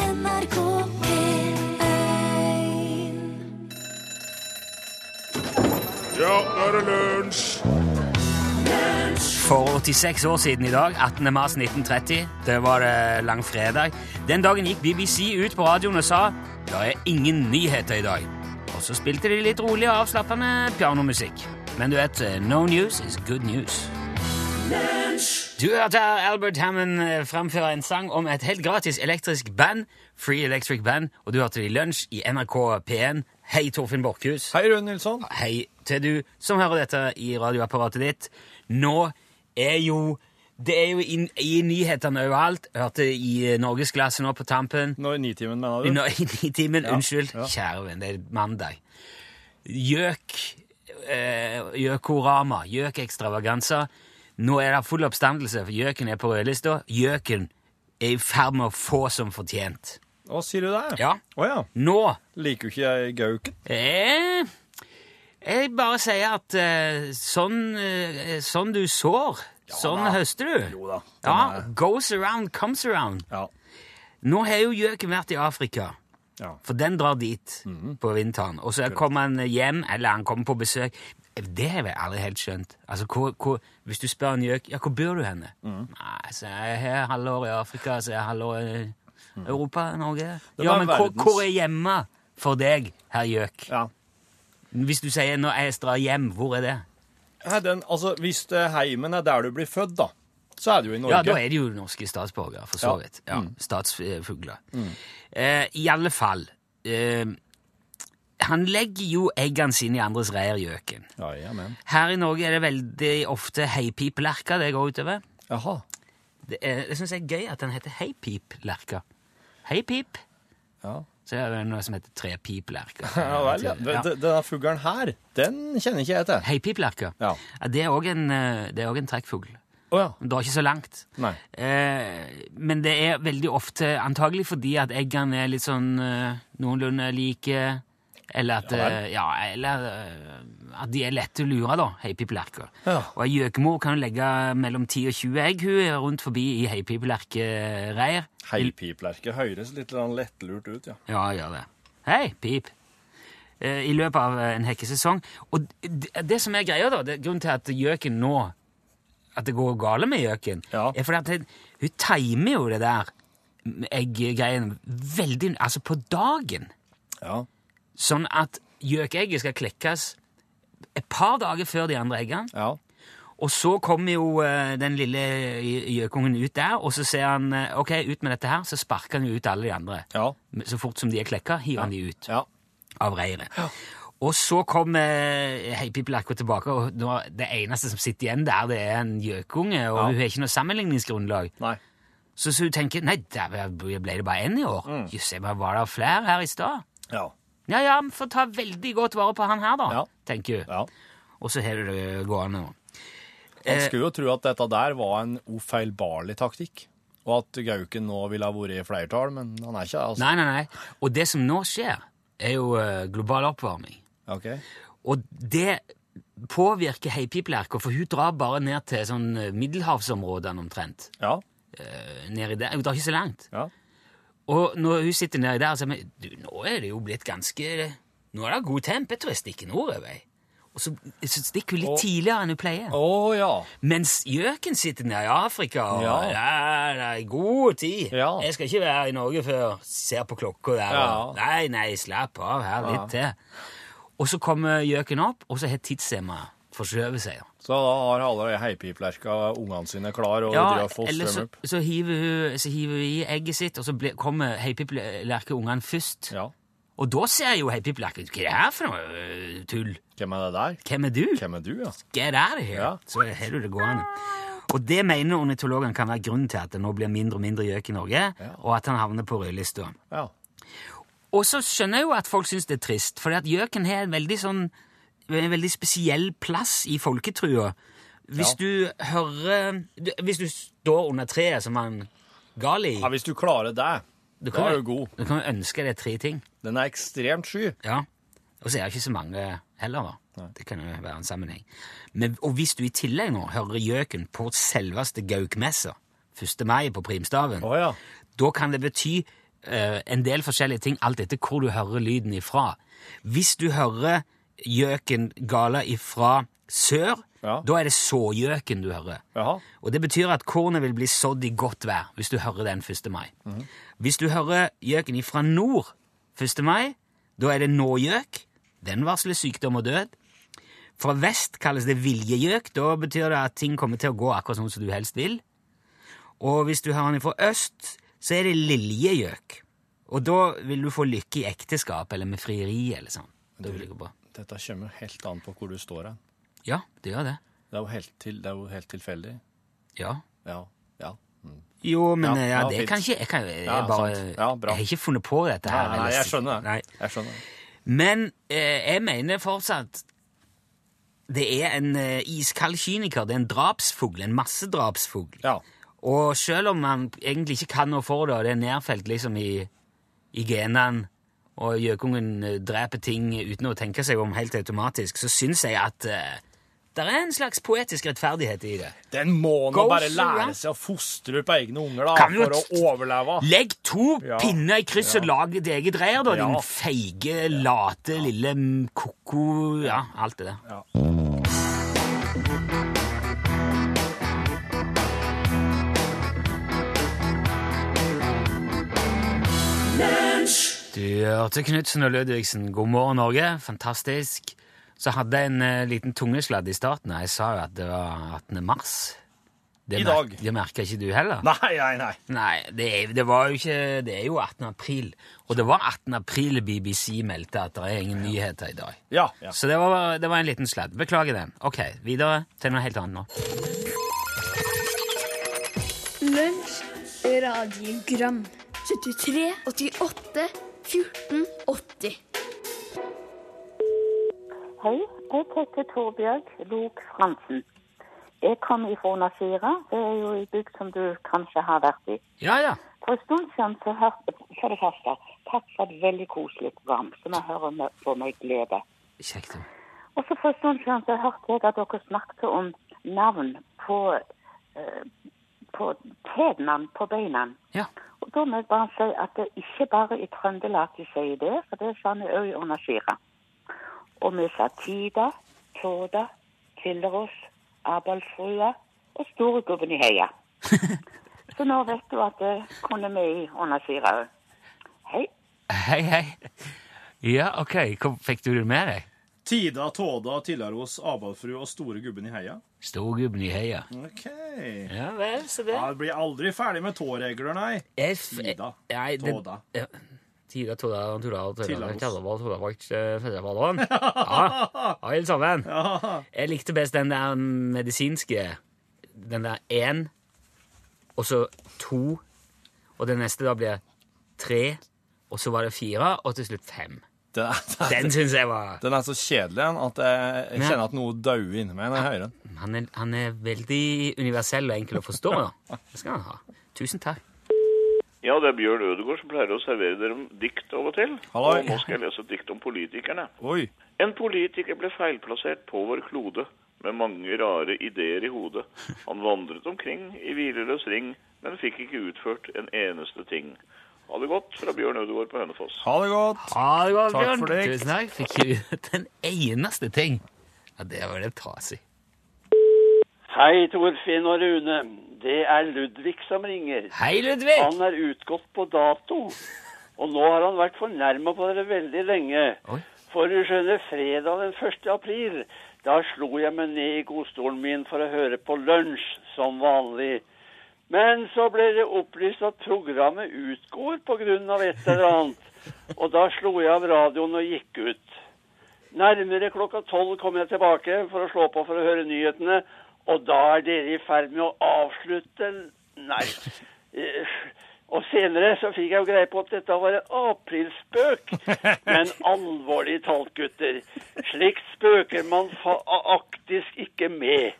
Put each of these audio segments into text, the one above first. NRK P1 Ja, nå er det lunsj! For 86 år siden i dag, 18. mars 1930, det var det langfredag, den dagen gikk BBC ut på radioen og sa «Det er ingen nyheter i dag». Og så spilte de litt rolig og avslappende pianomusikk. Men du vet, eh, no news is good news. Du hørte her Albert Hammond eh, framføre en sang om et helt gratis elektrisk band, Free Electric Band, og du hørte det i lunsj i NRK P1. Hei, Torfinn Borkhus. Hei, Rune Nilsson. Hei til du som hører dette i radioapparatet ditt. Nå er jo Det er jo i, i nyhetene overalt. Hørte i Norgesklasse nå på tampen. Nå i Nitimen, mener I, du? nå- i timen, Ja, unnskyld. ja. Kjære venn, det er mandag. Gjøk eh, Gjøkorama. Gjøkekstravaganser. Nå er det full oppstandelse, for gjøken er på rødlista. Gjøken er i ferd med å få som fortjent. Å, sier du det? Ja. Å ja. Nå Liker jo ikke jeg gauken? Eh, jeg bare sier at eh, sånn, eh, sånn du sår, sånn da. høster du. Jo da, den eh, Ja, er- goes around, comes around. Ja. Nå har jo gjøken vært i Afrika, ja. for den drar dit Mhm. på vinteren. Og så kommer han hjem, eller han kommer på besøk. Eh, Det har jeg aldri helt skjønt. Altså, hvor, hvor, hvis du spør en gjøk, ja, hvor bor du henne? Mhm. Nei, så er jeg her halvår i Afrika, så er jeg halvår i Europa, Norge. Mhm. Det Ja, var men hvor, verdens- hvor er hjemme for deg, herr gjøk? ja. Hvis du sier 'når jeg drar hjem', hvor er det? Nei, den, altså, hvis det heimen er der du blir født, da, så er det jo i Norge. Ja, da er det jo norske statsborgere, for så Ja. Mm. vidt. Ja, Statsfugler. Eh, I alle fall eh, Han legger jo eggene sine i andres reir, gjøken. Ja, ja, men. Her i Norge er det veldig ofte heipipelerka det går utover. Jaha. Det, er- det syns jeg er gøy at den heter heipiplerka. Heipip. Ja. Så er det noe som heter trepiplerka. Ja vel, ja. Den- den- Denne fuglen her, den kjenner ikke jeg til. Heipiplerka. Ja. Ja, Det er òg en, eh, det er også en trekkfugl. Å ja. Den drar ikke så langt. Nei. Eh, men det er veldig ofte antagelig fordi at eggene er litt sånn eh, noenlunde like, eller at, Ja vel. eh, ja, eller, eh, at de er lette å lure, da, heipipelerker. Ja. Og ei gjøkemor kan jo legge mellom 10 og 20 egg hun er rundt forbi i heipipelerkereir. Heipiplerke høres litt grann lettlurt ut, ja. Ja, gjør det. Hei, pip! Eh, I løpet av eh, en hekkesesong. Og det, det som er greia, da, det er grunnen til at gjøken nå At det går gale med gjøken, Ja. er fordi at hun, hun timer jo det der egggreien veldig Altså på dagen. Ja. Sånn at gjøkeegget skal klekkes et par dager før de andre eggene. Ja. Og så kommer jo eh, den lille gjø- gjøkungen ut der, og så ser han eh, OK, ut med dette her, så sparker han jo ut alle de andre. Ja. Så fort som de er klekka, hiver han de ut ja. av reiret. Og så kom eh, Heipi Blerko tilbake, og nå, det eneste som sitter igjen der, det er en gjøkunge, og Ja. hun har ikke noe sammenligningsgrunnlag. Nei. Så, så hun tenker nei, der ble ble det bare én i år. Jøss, mm. var det flere her i stad? Ja. Ja ja, vi får ta veldig godt vare på han her, da, Ja. tenker hun. ja. Og så har du det gående nå. Man skulle jo tro at dette der var en ufeilbarlig taktikk, og at gauken nå ville ha vært i flertall, men han er ikke det, altså. Nei, nei, nei. Og det som nå skjer, er jo eh, global oppvarming. Ok. Og det påvirker heipipelerka, for hun drar bare ned til sånn eh, middelhavsområdene omtrent. Ja, eh, nedi der. Hun drar ikke så langt. ja. Og når hun sitter nedi der, så er vi du, Nå er det jo blitt ganske Nå er det god temp. Jeg tror jeg stikker nordover. Og så, så stikker hun litt Og- tidligere enn hun pleier. Å ja. Mens gjøken sitter nede i Afrika og ja. Ja. det er god tid. Ja. Jeg skal ikke være i Norge før jeg ser på klokka der. og, Nei, nei, slapp av her litt til. Og så kommer gjøken opp, og så har tidshemma forskjøvet seg. Så da har alle heipiplerka ungene sine klar og Ja, driver og eller fostrer så, dem opp. så, hiver hun, så hiver hun i egget sitt, og så ble, kommer heipipelerkeungene først. Ja. Og da ser jo heipipelerken Hva er det her for noe øh, tull? Hvem er det der? Hvem er du? Hvem er du, ja? Get out of here! Ja. Så har du det gående. Og det mener ornitologene kan være grunnen til at det nå blir mindre og mindre gjøk i Norge, og at han havner på rødlista. Ja. Og så skjønner jeg jo at folk syns det er trist, for gjøken har en veldig sånn en veldig spesiell plass i folketrua. Hvis Ja. du hører du- Hvis du står under treet som han gal i ja hvis du klarer det, Du da kan, jo- er du god. du kan jo ønske deg tre ting. Den er ekstremt sky. Ja. Og så er det ikke så mange heller, da. Det kan jo være en sammenheng. Men, og hvis du i tillegg nå hører gjøken på selveste Gaukmessa, 1. mai på primstaven, Å ja. da kan det bety eh, en del forskjellige ting, alt etter hvor du hører lyden ifra. Hvis du hører gjøken gala ifra sør, Ja. da er det sågjøken du hører. Jaha. Og det betyr at kornet vil bli sådd i godt vær hvis du hører den 1. mai. Hvis du hører gjøken ifra nord 1. mai, da er det någjøk. Den varsler sykdom og død. Fra vest kalles det viljegjøk. Da betyr det at ting kommer til å gå akkurat sånn som du helst vil. Og hvis du hører den fra øst, så er det liljegjøk. Og da vil du få lykke i ekteskap eller med frieri eller sånn. Da vil det gå bra. Dette kommer jo helt an på hvor du står hen. Ja, det gjør det. Det er jo helt, til, det er jo helt tilfeldig. Ja. Ja. ja. Jo, men Ja, eh, ja, ja, det fint. kan ikke Jeg, kan, jeg, Ja, bare, sant. Ja, bra. jeg har ikke funnet på dette Nei, her. nei, jeg skjønner det. Nei. Jeg skjønner det. Men eh, jeg mener fortsatt Det er en eh, iskald kyniker. Det er en drapsfugl. En massedrapsfugl. Ja. Og selv om man egentlig ikke kan noe for det, og det er nedfelt liksom i, i genene, og gjøkungen eh, dreper ting uten å tenke seg om helt automatisk, så syns jeg at det er en slags poetisk rettferdighet i det. Den må nå Goes bare around. lære seg å fostre opp egne unger da, Kan jo for å overleve. Legg to Ja. pinner i kryss og lag ditt eget reir, da, Ja. din feige, late, lille mm, koko Ja, alt det der. Du hørte Knutsen og Ludvigsen, God morgen Norge, fantastisk. Så hadde jeg en eh, liten tungesladd i starten, og jeg sa jo at det var 18. mars. Det I mer- dag. Det merka ikke du heller. Nei, nei, nei. Nei, det er, det, var jo ikke, det er jo 18. april. Og det var 18. april BBC meldte at det er ingen nyheter i dag. Ja. ja. Så det var, det var en liten sladd. Beklager den. Ok, videre til noe helt annet nå. Lunsj, radiogram 73, 88, 14, 80 Hei, jeg heter Torbjørg Lok Fransen. Jeg kommer fra Nasira. Det er jo en bygd som du kanskje har vært i. Ja, ja. For en stund siden så hørte For det første, takk for et veldig koselig program som jeg hører med, på med glede. Kjekt. jo. Og så for en stund siden så hørte jeg at dere snakket om navn på eh, på tennene på beina. Ja. Og da må jeg bare si at det er ikke bare i Trøndelag de sier det, for det er sånn i øya under Skira. Og vi sa Tida, Tåda, Kvillerås, Abalfrua og Storegubben i Heia. Så nå vet du at det kunne vi i under Skira òg. Hei. Hei, hei. Ja, ok. Hvor fikk du det med deg? Tida, Tåda, Tillaros, Abalfru og Store gubben i heia. Storgubben i heia. Ok. Ja vel, så det Ja, det blir aldri ferdig med tåregler, nei. Jeg f- Tida, Nei, det- Tåda. Ja. Tida, Tåda, Tora, Tøyla, Tillaros. Kjallava, Tålavakt, Fedrevallan. Ja, alle sammen. Ja. Jeg likte best den der medisinske. Den der én, og så to, og den neste da blir tre, og så var det fire, og til slutt fem. Den er, Den syns jeg var den er så kjedelig den, at jeg, jeg kjenner at noe dauer inni meg når jeg hører den. han er, han er veldig universell og enkel å forstå. Da. Det skal han ha. Tusen takk. Ja, det er Bjørn Ødegaard som pleier å servere dere dikt av og til. Hallo. Og nå skal jeg lese et dikt om politikerne. Oi. En politiker ble feilplassert på vår klode, med mange rare ideer i hodet. Han vandret omkring i hvileløs ring, men fikk ikke utført en eneste ting. Ha det godt fra Bjørn Ødegaard på Hønefoss. Ha det godt. Ha det godt, Takk for det. Tusen takk. Fikk ikke ut den eneste ting. Ja, det var det trasig. Hei, Torfinn og Rune. Det er Ludvig som ringer. Hei, Ludvig! Han er utgått på dato. Og nå har han vært fornærma på dere veldig lenge. Oi. For du skjønner, fredag den 1. april, da slo jeg meg ned i godstolen min for å høre på lunsj, som vanlig. Men så ble det opplyst at programmet utgår på grunn av et eller annet. Og da slo jeg av radioen og gikk ut. Nærmere klokka tolv kom jeg tilbake for å slå på for å høre nyhetene, og da er dere i ferd med å avslutte Nei. Eh, Og senere så fikk jeg jo greie på at dette var en aprilspøk, men alvorlig talt, gutter. Slikt spøker man faktisk ikke med.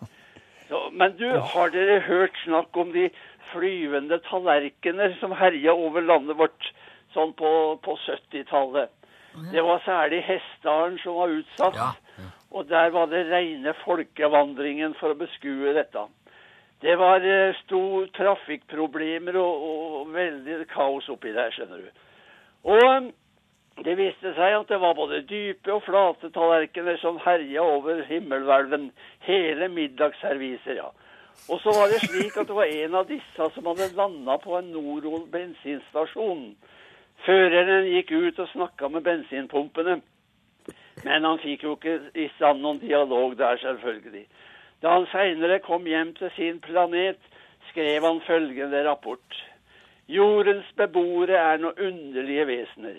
Så, men du, har dere hørt snakk om de flyvende tallerkener som herja over landet vårt sånn på, på 70-tallet? Det var særlig Hessdalen som var utsatt, Ja, og der var det reine folkevandringen for å beskue dette. Det var eh, stor trafikkproblemer og, og veldig kaos oppi der, skjønner du. Og eh, det viste seg at det var både dype og flate tallerkener som herja over himmelhvelven. Hele middagsserviser, ja. Og så var det slik at det var en av disse som hadde landa på en Norol bensinstasjon. Føreren gikk ut og snakka med bensinpumpene. Men han fikk jo ikke i stand noen dialog der, selvfølgelig. Da han seinere kom hjem til sin planet, skrev han følgende rapport. Jordens beboere er noen underlige vesener.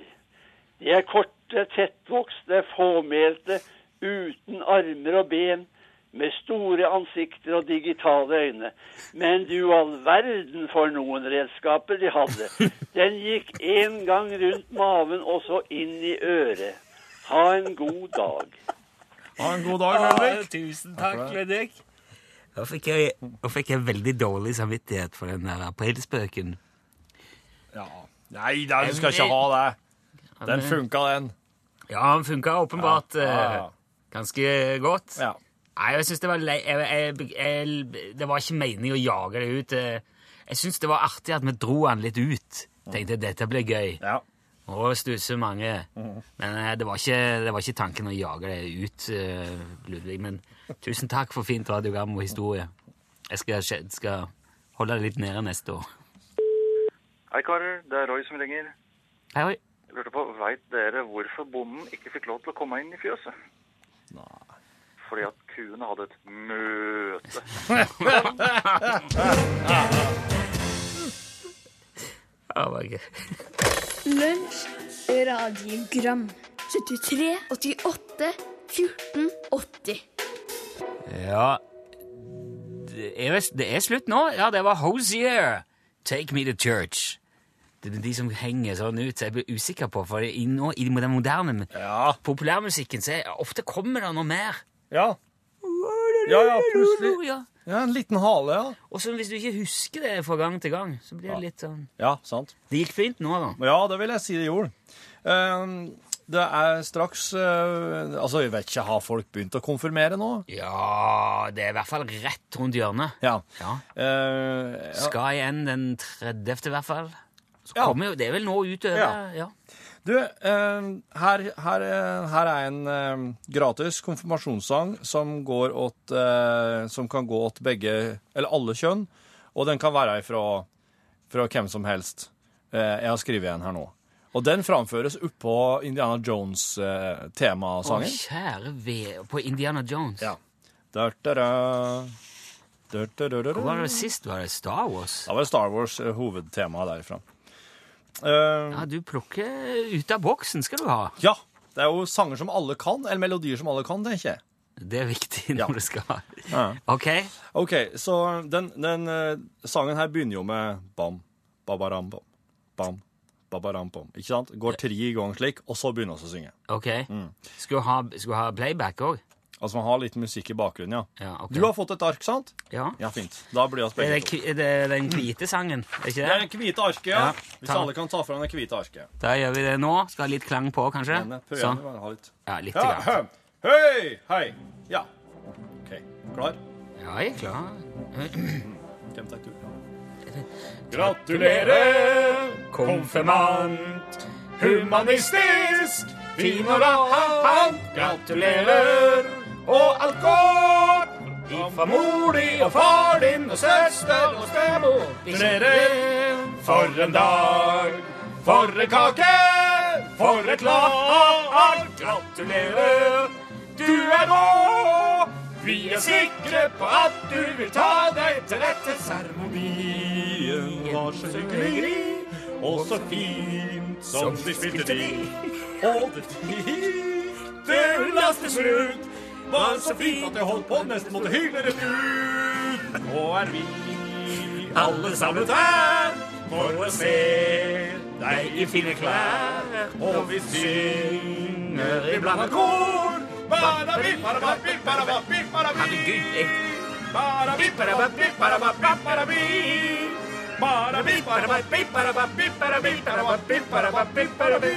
De er korte, tettvokste, fåmælte, uten armer og ben, med store ansikter og digitale øyne. Men du all verden for noen redskaper de hadde. Den gikk en gang rundt maven og så inn i øret. Ha en god dag. Ha en god dag, Ludvig. tusen takk, Ludvig. Nå fikk, jeg, nå fikk jeg veldig dårlig samvittighet for den der aprilspøken. Ja. Nei da, du skal ikke ha det. Den funka, den. Ja, han funka åpenbart Ja, ja, ja. eh, ganske godt. Ja. Nei, jeg synes det var lei... Jeg, jeg, jeg, det var ikke meningen å jage det ut. eh. Jeg synes det var artig at vi dro han litt ut. Tenkte dette blir gøy. ja. Og stusser mange. Mm. Men eh, det var, ikke, det var ikke tanken å jage det ut, eh, Ludvig. Men tusen takk for fint radiogram og historie. Jeg skal, sj- skal holde det litt nede neste år. Hei, karer. Det er Roy som ringer. Hei, oi. Jeg lurte på, Veit dere hvorfor bonden ikke fikk lov til å komme inn i fjøset? Nei. Fordi at kuene hadde et møte. Ja, det var gøy. Lunsj, radiogram 73, 88, 14, 80. Ja det er, det er slutt nå. Ja, det var Hosier. Take me to church. Det er de som henger sånn ut, så jeg blir usikker på. For i, nå, i den moderne Ja. populærmusikken så er, ofte kommer det noe mer. Ja. Ja, ja, plutselig. Ja. Ja, En liten hale, ja. Og så hvis du ikke husker det fra gang til gang, så blir det litt sånn Ja, sant. Det gikk fint nå, da. Ja, det vil jeg si det gjorde. Ehm, det er straks eh, Altså, jeg vet ikke, har folk begynt å konfirmere nå? Ja, det er i hvert fall rett rundt hjørnet. Ja. Ja. Eh, ja. Skal igjen den 30., i hvert fall. Så Ja. kommer jo Det er vel nå utover ja. Ja. Du, eh, her, her, eh, her er en eh, gratis konfirmasjonssang som, går åt, eh, som kan gå åt begge, eller alle kjønn, og den kan være fra, fra hvem som helst. Eh, jeg har skrevet en her nå. Og den framføres oppå Indiana eh, Å, Jones-temasangen. kjære ved På Indiana Jones. Ja. Da-da-da. Da-da-da-da-da. Hvor var det sist? Var det Star Wars? Da var det Star Wars eh, hovedtemaet derifra. Eh, Ja, du plukker ut av boksen, skal du ha. ja, det er jo sanger som alle kan, eller melodier som alle kan, tenker jeg. Det er viktig når Ja. du skal ha Ja. Ok. Ok, så den, den eh, sangen her begynner jo med bam, babaram, bam, bam, babaram, bam. Ikke sant? Går tre ganger slik, og så begynner vi å synge. ok. Skal du ha, skal du ha playback òg? Altså man har litt musikk i bakgrunnen, ja. Ja, ok. Du har fått et ark, sant? Ja. Ja, fint. Da blir vi Det er, begge det to. kvi- det er den hvite sangen, er ikke Det er det? det hvite arket, ja. Ja, Hvis ta- alle kan ta fram det hvite arket. Da gjør vi det nå. Skal ha litt klang på, kanskje? Denne prøver Sånn. jeg å ha litt. Ja, litt. Ja, grann. Hei, hei. Ja. OK. Klar? Ja, jeg er klar. Kjem deg tur. Gratulerer, Konfirmant. humanistisk, fin og lang. Gratulerer, og alt godt. Fra mor di og far din og søster og stemor. Gratulerer, for en dag. For en kake, for et lag. Gratulerer, du er rå. Vi er sikre på at du vil ta deg til rette. Seremonien var så hyggelig og så fint som de spilte de. Og det finte hundas til slutt var så fint at jeg holdt på nesten måtte hyle det ut. Nå er vi alle samlet her for å se deg i fine klær. Og vi synger i blanda kor. Badabi, badababi, badababi, badabi. Herregud, jeg, Badabi, badababi, badababi, badabi. Badabi, badababi, badababi, badabi, badababi, badababi, badabi.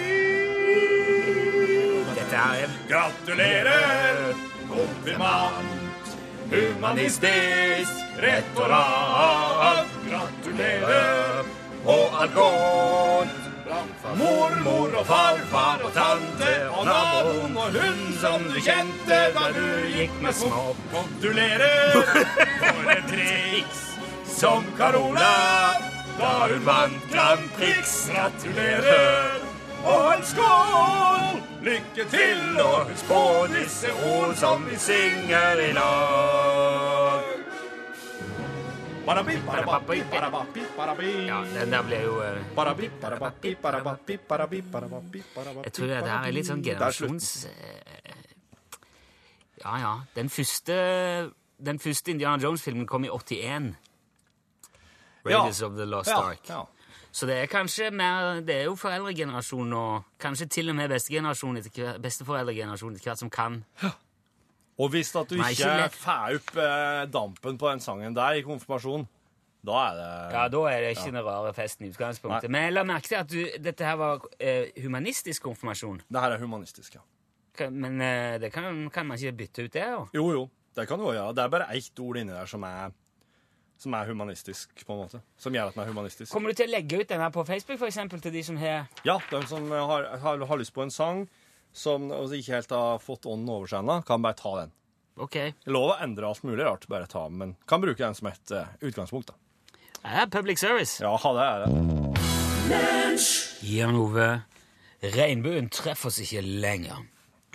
dette er Gratulerer, konfirmant. humanistisk rektorat. Gratulerer og alt godt. Fra mormor og farfar og tante og naboen og hun som du kjente da du gikk med små. Gratulerer for et triks som Carola da hun vant Grand Prix. Gratulerer og en skål! Lykke til, og husk på disse ord som vi synger i lag. Barabi, barabapi, barabapi, barabi. Ja, den der ble jo eh, Barabi, barabapi, barabapi, barabi, barabapi, barabapi, Jeg tror det der er litt sånn Der slutten. generasjons... eh, Ja, ja. Den første, den første Indiana Jones-filmen kom i 81. Raiders of the Lost Ja, Ark. ja. Så det er kanskje mer Det er jo foreldregenerasjonen og kanskje til og med bestegenerasjonen etter hvert, besteforeldregenerasjonen etter hvert som kan. Og hvis at du Nei, ikke ikke lett. får opp eh, dampen på den sangen der i konfirmasjon, da er det Ja, da er det ikke den rare festen i utgangspunktet. Men jeg la merke til at du, dette her var eh, humanistisk konfirmasjon. Det her er humanistisk, ja. Kan- Men eh, det kan, kan man ikke bytte ut det, da? Jo, jo. Det kan du òg gjøre. Det er bare ett ord inni der som er, som er humanistisk, på en måte. Som gjør at den er humanistisk. Kommer du til å legge ut den her på Facebook, for eksempel, til de som har Ja, den som har, har, har lyst på en sang som altså, ikke helt har fått ånden over seg ennå, kan bare ta den. Ok. Ja, Lov å endre alt mulig rart, bare ta den, men kan bruke den som et eh, utgangspunkt, da. Det er public service. Ja, det er det. Jan Ove, regnbuen treffer oss ikke lenger.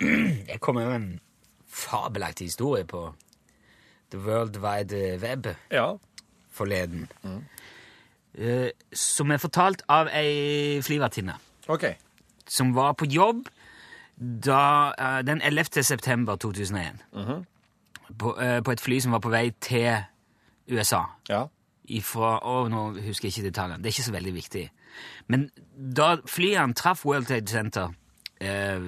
Jeg kommer med en fabelaktig historie på The World Wide Web Ja. forleden. Eh, som er fortalt av ei flyvertinne OK. som var på jobb da, eh, den 11. september 2001. Mhm. på, eh, på et fly som var på vei til USA. Ja. Ifra, å, nå husker jeg ikke detaljene. Det er ikke så veldig viktig. Men da flyene traff World Trade Center eh,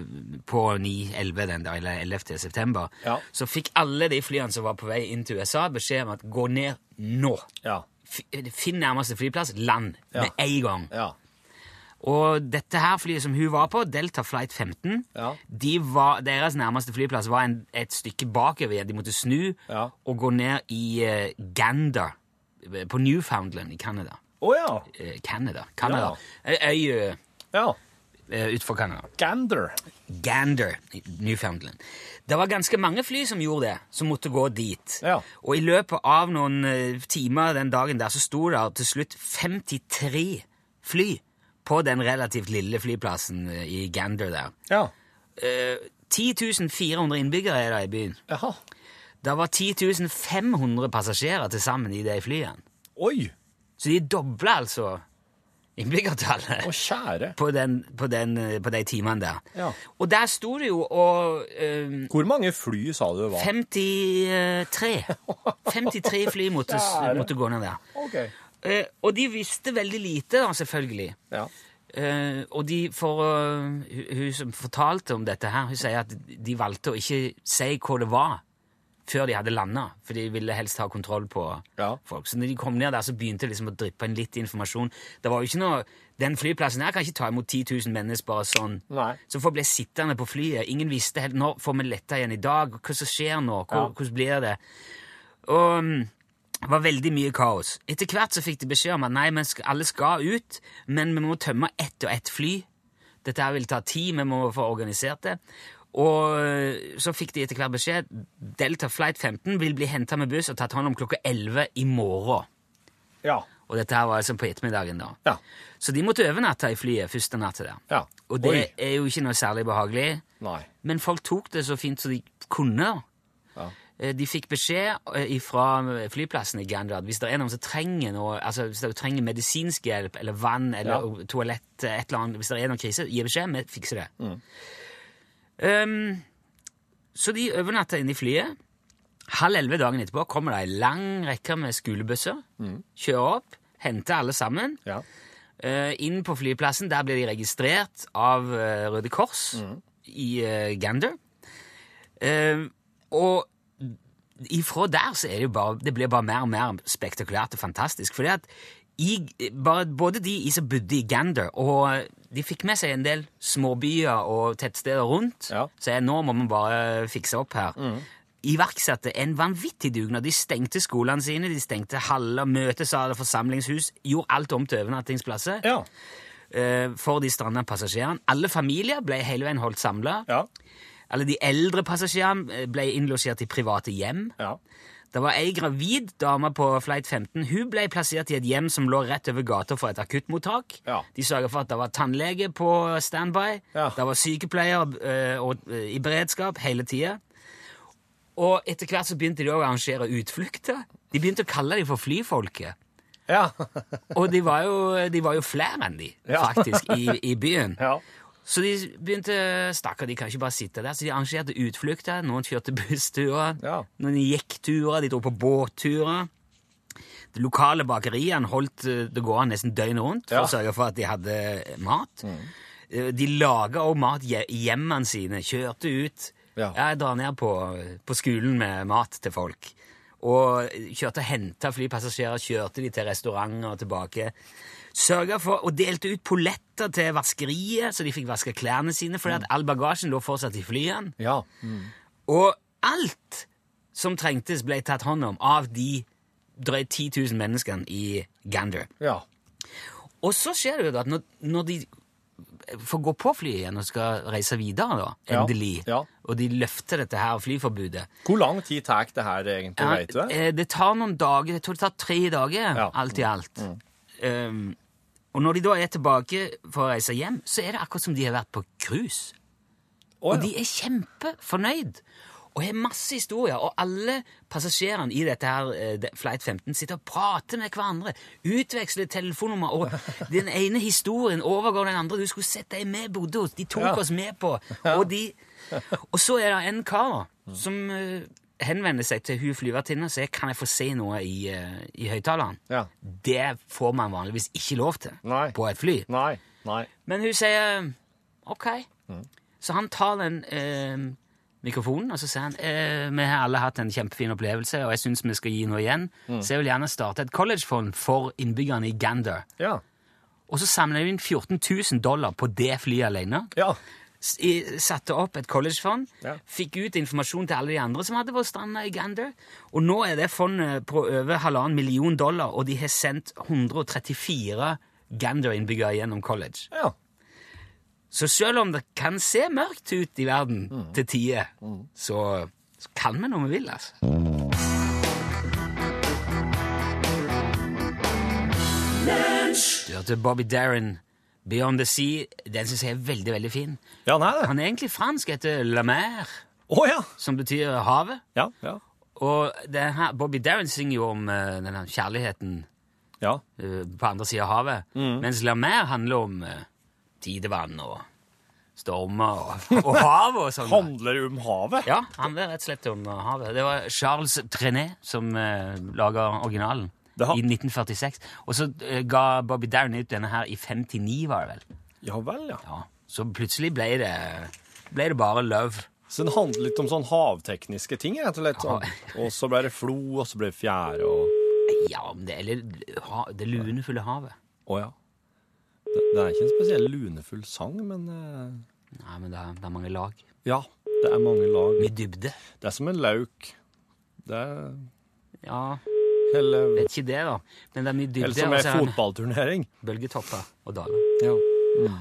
på 9.11. den dag, eller 11. september, Ja. så fikk alle de flyene som var på vei inn til USA, beskjed om at gå ned nå. Ja. Fi- Finn nærmeste flyplass, land med Ja. en gang. Ja. Og dette her flyet som hun var på, Delta Flight 15, Ja. de var, deres nærmeste flyplass var en, et stykke bakover. igjen. De måtte snu Ja. og gå ned i eh, Gander, eh, på Newfoundland i Canada. Å ja. Eh, Canada. Canada. Ei øy eh, Ja. eh, utenfor Canada. Gander. Gander, Newfoundland. Det var ganske mange fly som gjorde det, som måtte gå dit. Ja. Og i løpet av noen eh, timer den dagen der, så sto det til slutt 53 fly på den relativt lille flyplassen eh, i Gander der. Ja. Eh, 10.400 innbyggere er det i byen. Jaha. Det var 10.500 passasjerer til sammen i de flyene. Oi! Så de dobla altså innbyggertallet Å, kjære. på, den, på, den, eh, på de timene der. Ja. Og der sto det jo og eh, Hvor mange fly sa du det var? 53. 53 fly måtte, måtte gå ned der. OK. Eh, og de visste veldig lite, da, selvfølgelig. Ja. Eh, og de for, eh, hun, hun som fortalte om dette her, hun sier at de valgte å ikke si hva det var før de hadde landa, for de ville helst ha kontroll på Ja. folk. Så når de kom ned der, så begynte det liksom å dryppe inn litt informasjon. Det var jo ikke noe, Den flyplassen her kan ikke ta imot 10 000 mennesker bare sånn. Nei. Så folk ble sittende på flyet. Ingen visste helt når får vi letta igjen i dag. Hva som skjer nå? Hvor, Hvordan blir det? Og mm, det var veldig mye kaos. Etter hvert så fikk de beskjed om at nei, men sk- alle skal ut, men vi må tømme ett og ett fly. Dette her vil ta tid, vi må få organisert det. Og eh, så fikk de etter hvert beskjed Delta Flight 15 vil bli henta med buss og tatt hånd om klokka 11 i morgen. Ja. Og dette her var altså på ettermiddagen, da. Ja. Så de måtte overnatte i flyet første natta der. Ja. Og det Oi. er jo ikke noe særlig behagelig. Nei. Men folk tok det så fint som de kunne. da. Eh, De fikk beskjed fra flyplassen i Gander at hvis det er noen som trenger noe, altså hvis dere trenger medisinsk hjelp eller vann eller toalett, et eller annet, hvis det er noen krise, gi beskjed, vi fikser det. Um, så de overnatta inne i flyet. Halv elleve dagen etterpå kommer det ei lang rekke med skolebusser. Kjører opp, henter alle sammen. Mm. Ja. Eh, inn på flyplassen. Der blir de registrert av eh, Røde Kors Mm. i eh, Gander. Eh, og ifra der så er det jo bare Det blir bare mer og mer spektakulært og fantastisk. Fordi at i, bare, både de i som bodde i Gander, og de fikk med seg en del småbyer og tettsteder rundt. Ja. Mm. Så jeg, nå må vi bare fikse opp her. iverksatte en vanvittig dugnad. De stengte skolene sine, de stengte haller, møtesaler, forsamlingshus. Gjorde alt om til overnattingsplasser Ja. eh, for de stranda passasjerene. Alle familier ble hele veien holdt samla. Ja. Alle de eldre passasjerene eh, ble innlosjert i private hjem. ja. Det var ei gravid dame på flight 15. Hun ble plassert i et hjem som lå rett over gata for et akuttmottak. Ja. De sørga for at det var tannlege på standby, Ja. det var sykepleier eh, og, eh, i beredskap hele tida. Og etter hvert så begynte de også å arrangere utflukter. De begynte å kalle dem for flyfolket. Ja. Og de var jo, de var jo flere enn de, Ja. faktisk, i, i byen. ja. Så de begynte Stakkar, de kan ikke bare sitte der. Så de arrangerte utflukter. Noen kjørte bussturer. Ja. Noen gikk turer. De dro på båtturer. De lokale bakeriene holdt eh, det gående nesten døgnet rundt for Ja. Mm. å sørge for at de hadde mat. Eh, De laga òg mat hje- i hjemmene sine. Kjørte ut. Ja. Jeg drar ned på, på skolen med mat til folk. Og eh, kjørte og henta flypassasjerer, kjørte de til restauranter og tilbake. Sørga for og delte ut polletter til vaskeriet, så de fikk vaska klærne sine, fordi Mm. at all bagasjen lå fortsatt i flyene. ja. Og alt som trengtes, ble tatt hånd om av de drøyt 10 000 menneskene i Gander. ja. Og så skjer det jo da at når, når de får gå på flyet igjen og skal reise videre, da, Ja, endelig, ja. og de løfter dette her flyforbudet Hvor lang tid tar det her egentlig, Ja, vet du det? eh, det tar noen dager. Jeg tror det tar tre dager, Ja. Mm. alt i alt. Um, og når de da er tilbake for å reise hjem, så er det akkurat som de har vært på cruise. Å, Og de ja. er kjempefornøyd. Og har masse historier. Og alle passasjerene i dette her eh, de- Flight 15 sitter og prater med hverandre. Utveksler telefonnummer. Og den ene historien overgår den andre. Du skulle sett de vi bodde hos. De tok Ja. oss med på. Og, de, og så er det en kar Mm. da, som eh, henvender seg til hun flyvertinna og sier kan jeg få se noe i, eh, i høyttaleren. Ja. Det får man vanligvis ikke lov til Nei. på et fly. Nei. Nei. Men hun sier OK. Mm. Så han tar den eh, mikrofonen og så sier han eh, vi har alle hatt en kjempefin opplevelse, og jeg syns vi skal gi noe igjen, Mm. så jeg vil gjerne starte et collegefond for innbyggerne i Gander. Ja. Og så samler vi inn 14 000 dollar på det flyet alene. Ja. S- i- Satte opp et collegefond, Ja. fikk ut informasjon til alle de andre som hadde vært stranda i Gander, og nå er det fondet på over halvannen million dollar, og de har sendt 134 Gander-innbyggere gjennom college. Ja. Så selv om det kan se mørkt ut i verden til tider, så så kan vi når vi vil, altså. Du hørte Bobby Darin, Beyond the Sea. Den syns jeg er veldig veldig fin. Ja, nei, det. Han er egentlig fransk, heter La Mer, Å ja. som betyr havet. Ja. Ja. Og den her, Bobby Darin synger jo om eh, denne kjærligheten ja. eh, på andre siden av havet. Mm. Mens La Mer handler om eh, tidevann og stormer og, og havet og sånn. Handler det om havet? Ja, han handler rett og slett om eh, havet. Det var Charles Trenet som uh, laga originalen. Det har- I 1946. Og så eh, ga Bobby Darin ut denne her i 59, var det vel. Ja vel, ja. Ja. Så plutselig ble det, ble det bare love. Så den handler litt om sånn havtekniske ting, rett og slett. Sånn. Og så ble det flo, og så ble det fjære og Ja, men det, eller ha, det lunefulle havet. Å ja. Det, det er ikke en spesiell lunefull sang, men eh, Nei, men det er, det er mange lag. ja. Det er mange lag. Mye dybde. Det er som en lauk. Det er Ja, hele vet ikke det, da. Men det er mye dybde. Eller som og så en er han- fotballturnering. bølgetopper og daler. Ja.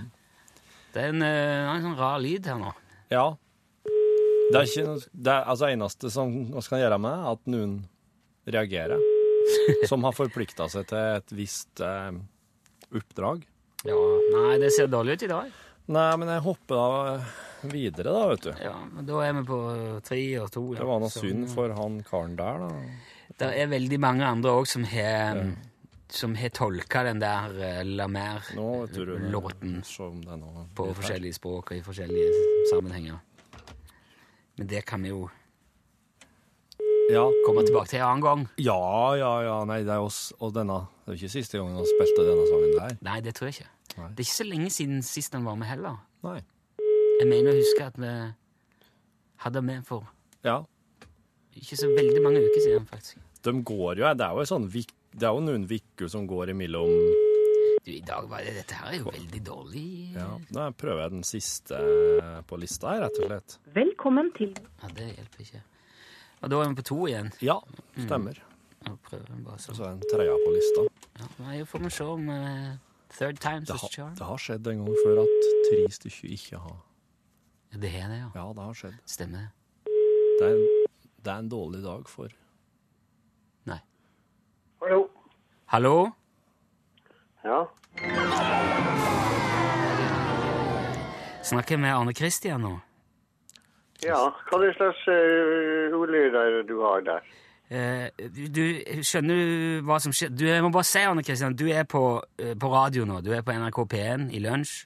Det er en, eh, en sånn rar lyd her nå. ja. Det er ikke noe- Det er, altså, eneste som vi kan gjøre med det, er at noen reagerer. Som har forplikta seg til et visst eh, oppdrag. Ja, Nei, det ser dårlig ut i dag. Nei, men jeg hopper da videre, da, vet du. Ja, men Da er vi på tre og to. ja. Det var noe Så, synd for han karen der, da. Det er veldig mange andre òg som har mm, som har tolka den der eh, La Nå vet du Rune, Mer-låten se om det er noe på litt her. forskjellige språk og i forskjellige sammenhenger. Men det kan vi jo Ja. komme tilbake til en annen gang. ja, ja, ja. Nei, det er oss og denne. Det er jo ikke siste gangen han spilte denne sangen der. Nei, det tror jeg ikke. Nei. Det er ikke så lenge siden sist han var med heller. Nei. Jeg mener å huske at vi hadde med for Ja. ikke så veldig mange uker siden, faktisk. De går jo Det er jo, en sånn, vik- det er jo noen vikker som går imellom Du, i dag var det Dette her er jo veldig dårlig. ja. Da prøver jeg den siste på lista her, rett og slett. Velkommen til Ja, det hjelper ikke. Og da er vi på to igjen. Ja, stemmer. Og prøver bare Mm. Og sånn. så er en trea på lista. Ja, Nei, får vi se om eh, third time's Det a har, charm. det har skjedd en gang før at tre stykker ikke har Ja, Det er det, ja. Ja, det har skjedd. Stemmer det. Det er, en- det er en dårlig dag for Nei. Hallo. Hallo? Ja. Snakker jeg med Arne Christian nå? ja. Hva slags uh, ordlyder du har der? Eh, du, skjønner du hva som skjer? Du, jeg må bare si, Arne Kristian, du er på, eh, på radio nå. Du er på NRK P1 i lunsj.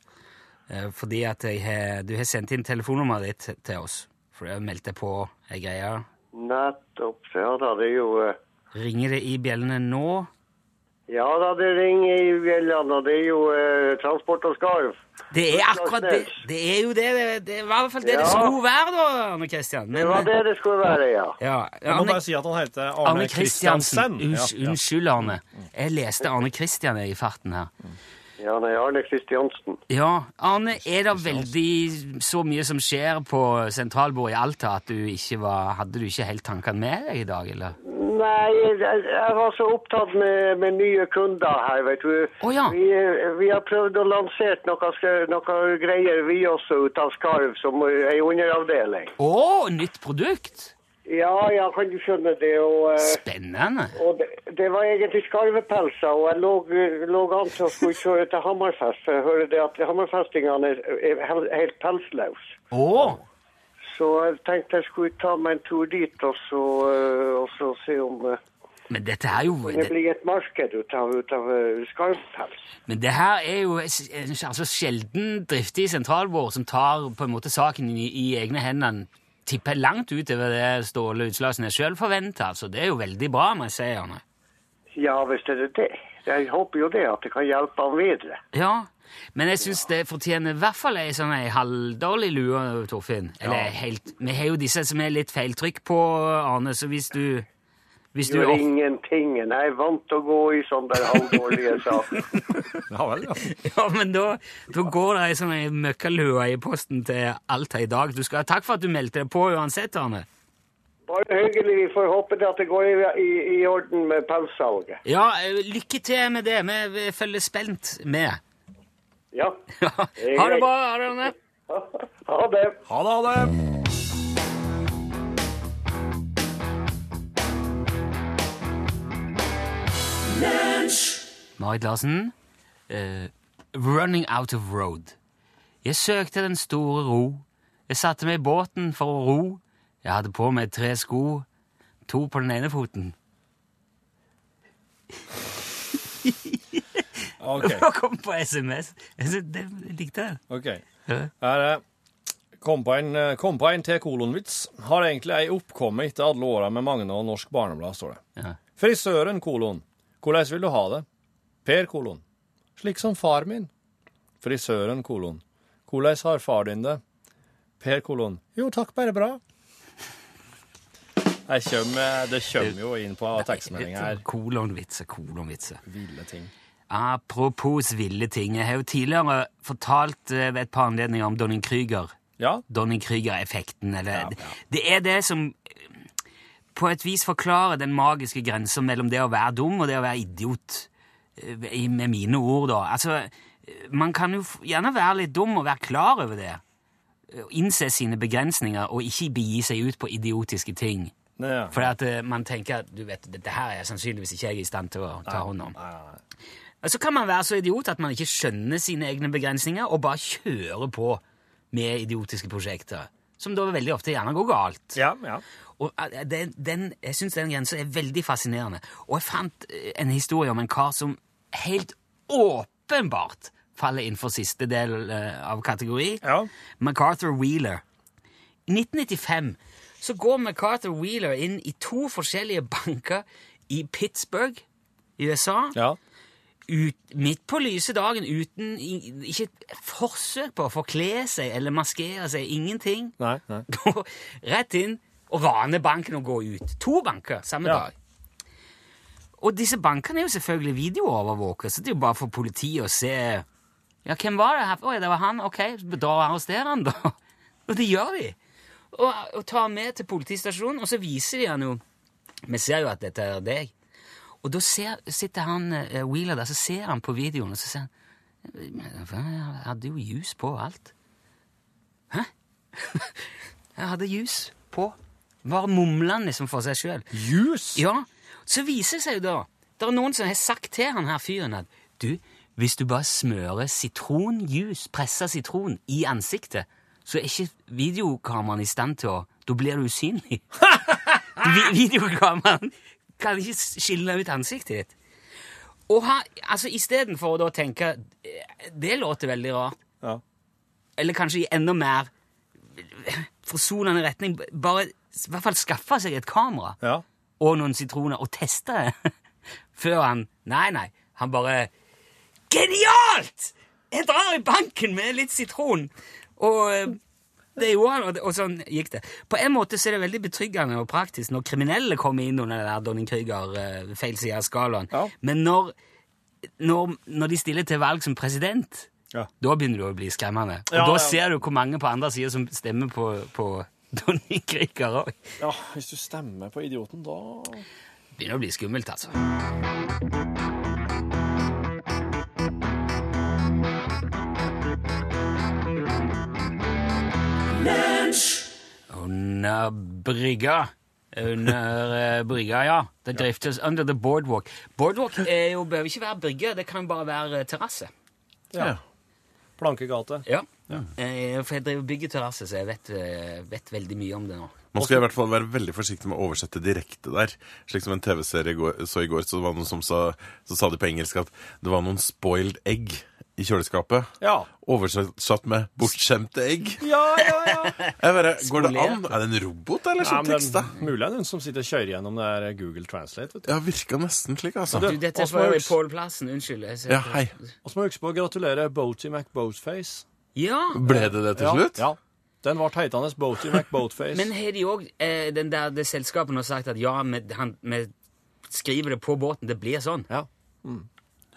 eh, fordi at jeg har, du har sendt inn telefonnummeret ditt til- til oss. For jeg meldte på ei greie. Nettopp. Ja da, det er jo eh, Ringer det i bjellene nå? Ja da, det ringer i bjellene, og det er jo eh, transport og skarv. Det er akkurat det! Det er jo det det, det var i hvert fall det Ja. det skulle være, da, Arne Kristian. Det var det det skulle være, ja. Ja, Jeg må Arne, bare si at han heter Arne Arne Kristiansen. Kristiansen. Unns, unnskyld, Arne. Jeg leste Arne Kristian i farten her. Ja, nei, Arne Kristiansen. Ja, Arne, er det veldig så mye som skjer på sentralbordet i Alta at du ikke var Hadde du ikke helt tankene med deg i dag, eller? Nei, jeg, jeg var så opptatt med, med nye kunder her, vet du. Å, ja. vi, eh, vi har prøvd å lansere noe, sk- noe greier vi også ut av Skarv, som er ei underavdeling. Å, nytt produkt! Ja, ja, kan du skjønne det. Og, eh, Spennende. og det, det var egentlig skarvepelser, og jeg lå, lå an til å skulle kjøre til Hammerfest, for jeg hører det at hammerfestingene er, er hel- helt pelsløse. Å! Så jeg tenkte jeg skulle ta meg en tur dit og så, eh, og så se om eh, Men dette er jo det det, blir et marked ut av, ut av eh, skarvpels. Men det her er jo s- en altså, sjelden driftig sentralbord som tar på en måte saken i, i egne hender. Tipper jeg langt utover det Ståle Utslagsnes sjøl forventa. Altså, det er jo veldig bra, må jeg si, Arne. Ja, hvis det er det. Jeg håper jo det, at det kan hjelpe ham videre. Ja, men jeg syns det fortjener i hvert fall ei sånn ei halvdårlig lue, Torfinn. Eller helt Vi har jo disse som er litt feiltrykk på, Arne, så hvis du Hvis du Gjør ingenting. Jeg er vant til å gå i sånne der halvdårlige saker. Ja vel, ja. Ja, men da, da går det ei sånn ei møkkalue i posten til Alta i dag. Du skal ha takk for at du meldte deg på uansett, Arne. Bare hyggelig. Vi får håpe det at det går i, i, i orden med pelssalget. Ja, eh, lykke til med det. Vi vi følger spent med. Ja. Ja. Ha det bra, Arne. Ha det. Ha det, ha det! Marit Larsen, eh, Running Out of Road. Jeg søkte den store ro. Jeg satte meg i båten for å ro. Jeg hadde på meg tre sko, to på den ene foten. OK. Og kom på SMS. Jeg synes det jeg likte jeg. ok. Her er Kom på en, eh, kom på en til kolonvits. Har egentlig ei oppkomme etter alle åra med Magne og Norsk Barneblad, står det. Ja. Frisøren, kolon. Hvordan vil du ha det? Per, kolon. Slik som far min. Frisøren, kolon. Hvordan har far din det? Per, kolon. Jo, takk, bare bra. Jeg kommer, det kommer jo inn på tekstmeldinga her. Kolonvitser, kolonvitser. Ville ting. Apropos ville ting. Jeg har jo tidligere fortalt eh, ved et par anledninger om Donning Krüger. Ja, Donning-Krüger-effekten. Eller, Det er det som eh, på et vis forklarer den magiske grensen mellom det å være dum og det å være idiot. eh, i- Med mine ord, da. Altså, eh, man kan jo f- gjerne være litt dum og være klar over det. Eh, Innse sine begrensninger og ikke begi seg ut på idiotiske ting. Nei, ja. For at eh, man tenker at du vet, dette her er sannsynligvis ikke jeg i stand til å ta hånd om. Og så kan man være så idiot at man ikke skjønner sine egne begrensninger, og bare kjører på med idiotiske prosjekter, som da veldig ofte gjerne går galt. Ja, ja. Og eh, den, den, jeg syns den grensa er veldig fascinerende. Og jeg fant eh, en historie om en kar som helt åpenbart faller innenfor siste del eh, av kategori. Ja. MacArthur Wheeler. I 1995 så går MacArthur Wheeler inn i to forskjellige banker i Pittsburgh i USA ja. ut, midt på lyse dagen uten i- ikke et forsøk på å forkle seg eller maskere seg. Ingenting. Nei, nei. Gå Rett inn og rane banken og gå ut. To banker samme Ja. dag. Og disse bankene er jo selvfølgelig videoovervåket, så det er jo bare for politiet å se Ja, hvem var det her? Oi, det var han. Ok, da arresterer han, da. Og det gjør de. og, og tar han med til politistasjonen, og så viser de han jo Vi ser jo at dette er deg. Og da ser, sitter han eh, Wheeler der, så ser han på videoen, og så sier han «Men faen, Jeg hadde jo jus på og alt. Hæ? Jeg hadde jus på. Bare mumler han liksom for seg sjøl. Jus? Ja, så viser det seg jo da Det er noen som har sagt til han her fyren at Du, hvis du bare smører sitronjus, presset sitron, i ansiktet, så er ikke videokameraen i stand til å Da blir du usynlig. Vi- videokameraen kan ikke skille ut ansiktet ditt. Og ha, altså Istedenfor å da tenke eh, Det låter veldig rart. Ja. Eller kanskje i enda mer eh, forsonende retning. Bare i hvert fall skaffe seg et kamera Ja. og noen sitroner og teste det. Før han Nei, nei. Han bare Genialt! Jeg drar i banken med litt sitron! Og eh, det gjorde han, og det- og sånn gikk det. På en måte så er det veldig betryggende og praktisk når kriminelle kommer inn under det der Donning Krüger-feil side av skalaen. Ja. Men når, når, når de stiller til valg som president, Ja. da begynner det å bli skremmende. Og Ja, da ja. ser du hvor mange på andre sida som stemmer på, på Donning Krüger òg. ja, hvis du stemmer på idioten, da Begynner å bli skummelt, altså. Under brygga. Under eh, brygga, ja. Det driftes under the boardwalk. Boardwalk er jo, behøver ikke være brygge, det kan bare være eh, terrasse. Ja. Plankegate. Ja. Eh, For jeg driver og bygger terrasse, så jeg vet, eh, vet veldig mye om det nå. Man skal i hvert fall være veldig forsiktig med å oversette direkte der. Slik som en TV-serie i går- så i går, så, var det noen som sa, så sa de på engelsk at det var noen spoiled egg i kjøleskapet. Ja. Oversatt med 'bortskjemte egg'. Ja, ja, ja. Jeg bare, går det Spolert. an? Er det en robot eller ja som men, teksta? mulig det er noen som sitter og kjører gjennom det her Google Translate. vet du. Ja, virka nesten slik, altså. Du, dette er Åsmund for øvrig Høgs. Pål Plassen. Unnskyld. jeg ser- Ja, hei. Og så må du huske på å gratulere Boaty McBoatface. Ja, Ble det det til Ja, slutt? Ja. Den ble heitende Boaty McBoatface. Men har de òg eh, den der det selskapet har sagt at ja, vi, han, vi skriver det på båten, det blir sånn? Ja.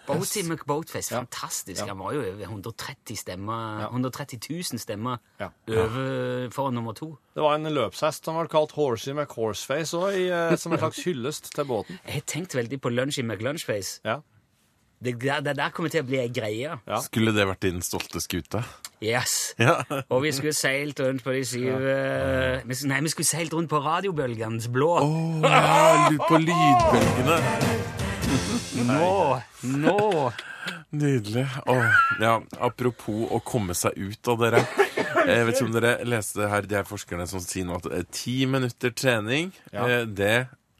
Boaty McBoatface, fantastisk. Han var jo over 130 stemmer, 130 000 stemmer Ja. over for nummer to. Det var en løpshest som ble kalt Horsey McHorseface òg, eh, som en slags hyllest til båten. Jeg har tenkt veldig på Lunchy McLunchface. Ja. Det der, det der kommer til å bli ei greie. Ja. Skulle det vært din stolte skute? Yes. Ja. Og vi skulle seilt rundt på de syv eh, vi- Nei, vi skulle seilt rundt på radiobølgenes blå. Å, ja, lyd på lydbølgene. Nå! Nå! Nydelig. Åh, ja, apropos å komme seg ut av dere. Jeg vet ikke om dere leste det her, de her forskerne som sier nå at eh, ti minutter trening, Ja. eh, det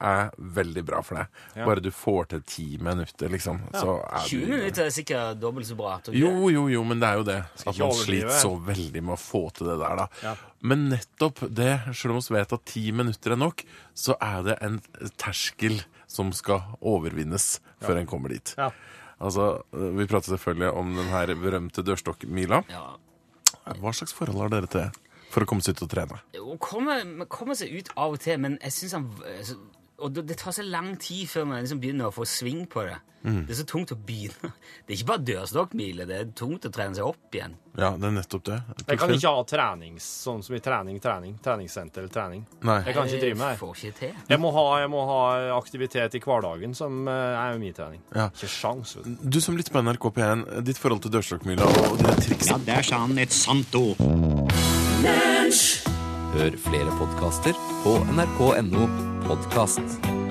er veldig bra for deg. Bare du får til ti minutter, liksom, så er 20 du minutter er sikkert dobbelt så bra. tror jeg. jo, jo, jo, men det er jo det. At ikke man overdrive. sliter så veldig med å få til det der, da. Men nettopp det, selv om vi vet at ti minutter er nok, så er det en terskel som skal overvinnes før en kommer dit. Ja. Altså, Vi prater selvfølgelig om den her berømte dørstokkmila. Ja. Hva slags forhold har dere til det? For å komme seg ut og trene. Hun kommer, man kommer seg ut av og til, men jeg synes han altså, Og det det tar så lang tid før man liksom begynner å få sving på det. Mm. Det er så tungt å begynne. Det er ikke bare dørstokkmile, det er tungt å trene seg opp igjen. Ja, det er nettopp det. Jeg kan ikke ha trenings, sånn som i trening, trening, treningssenter eller trening. Nei. Jeg kan ikke drive med det. Eh, Får ikke til. Jeg må ha, jeg må ha aktivitet i hverdagen som eh, er min trening. Ja. Ikke sjans, vet du. Du som lytter på NRK P1, ditt forhold til dørstokkmila og dine triks der sa han et sant ord. Hør flere podkaster på nrk.no podkast.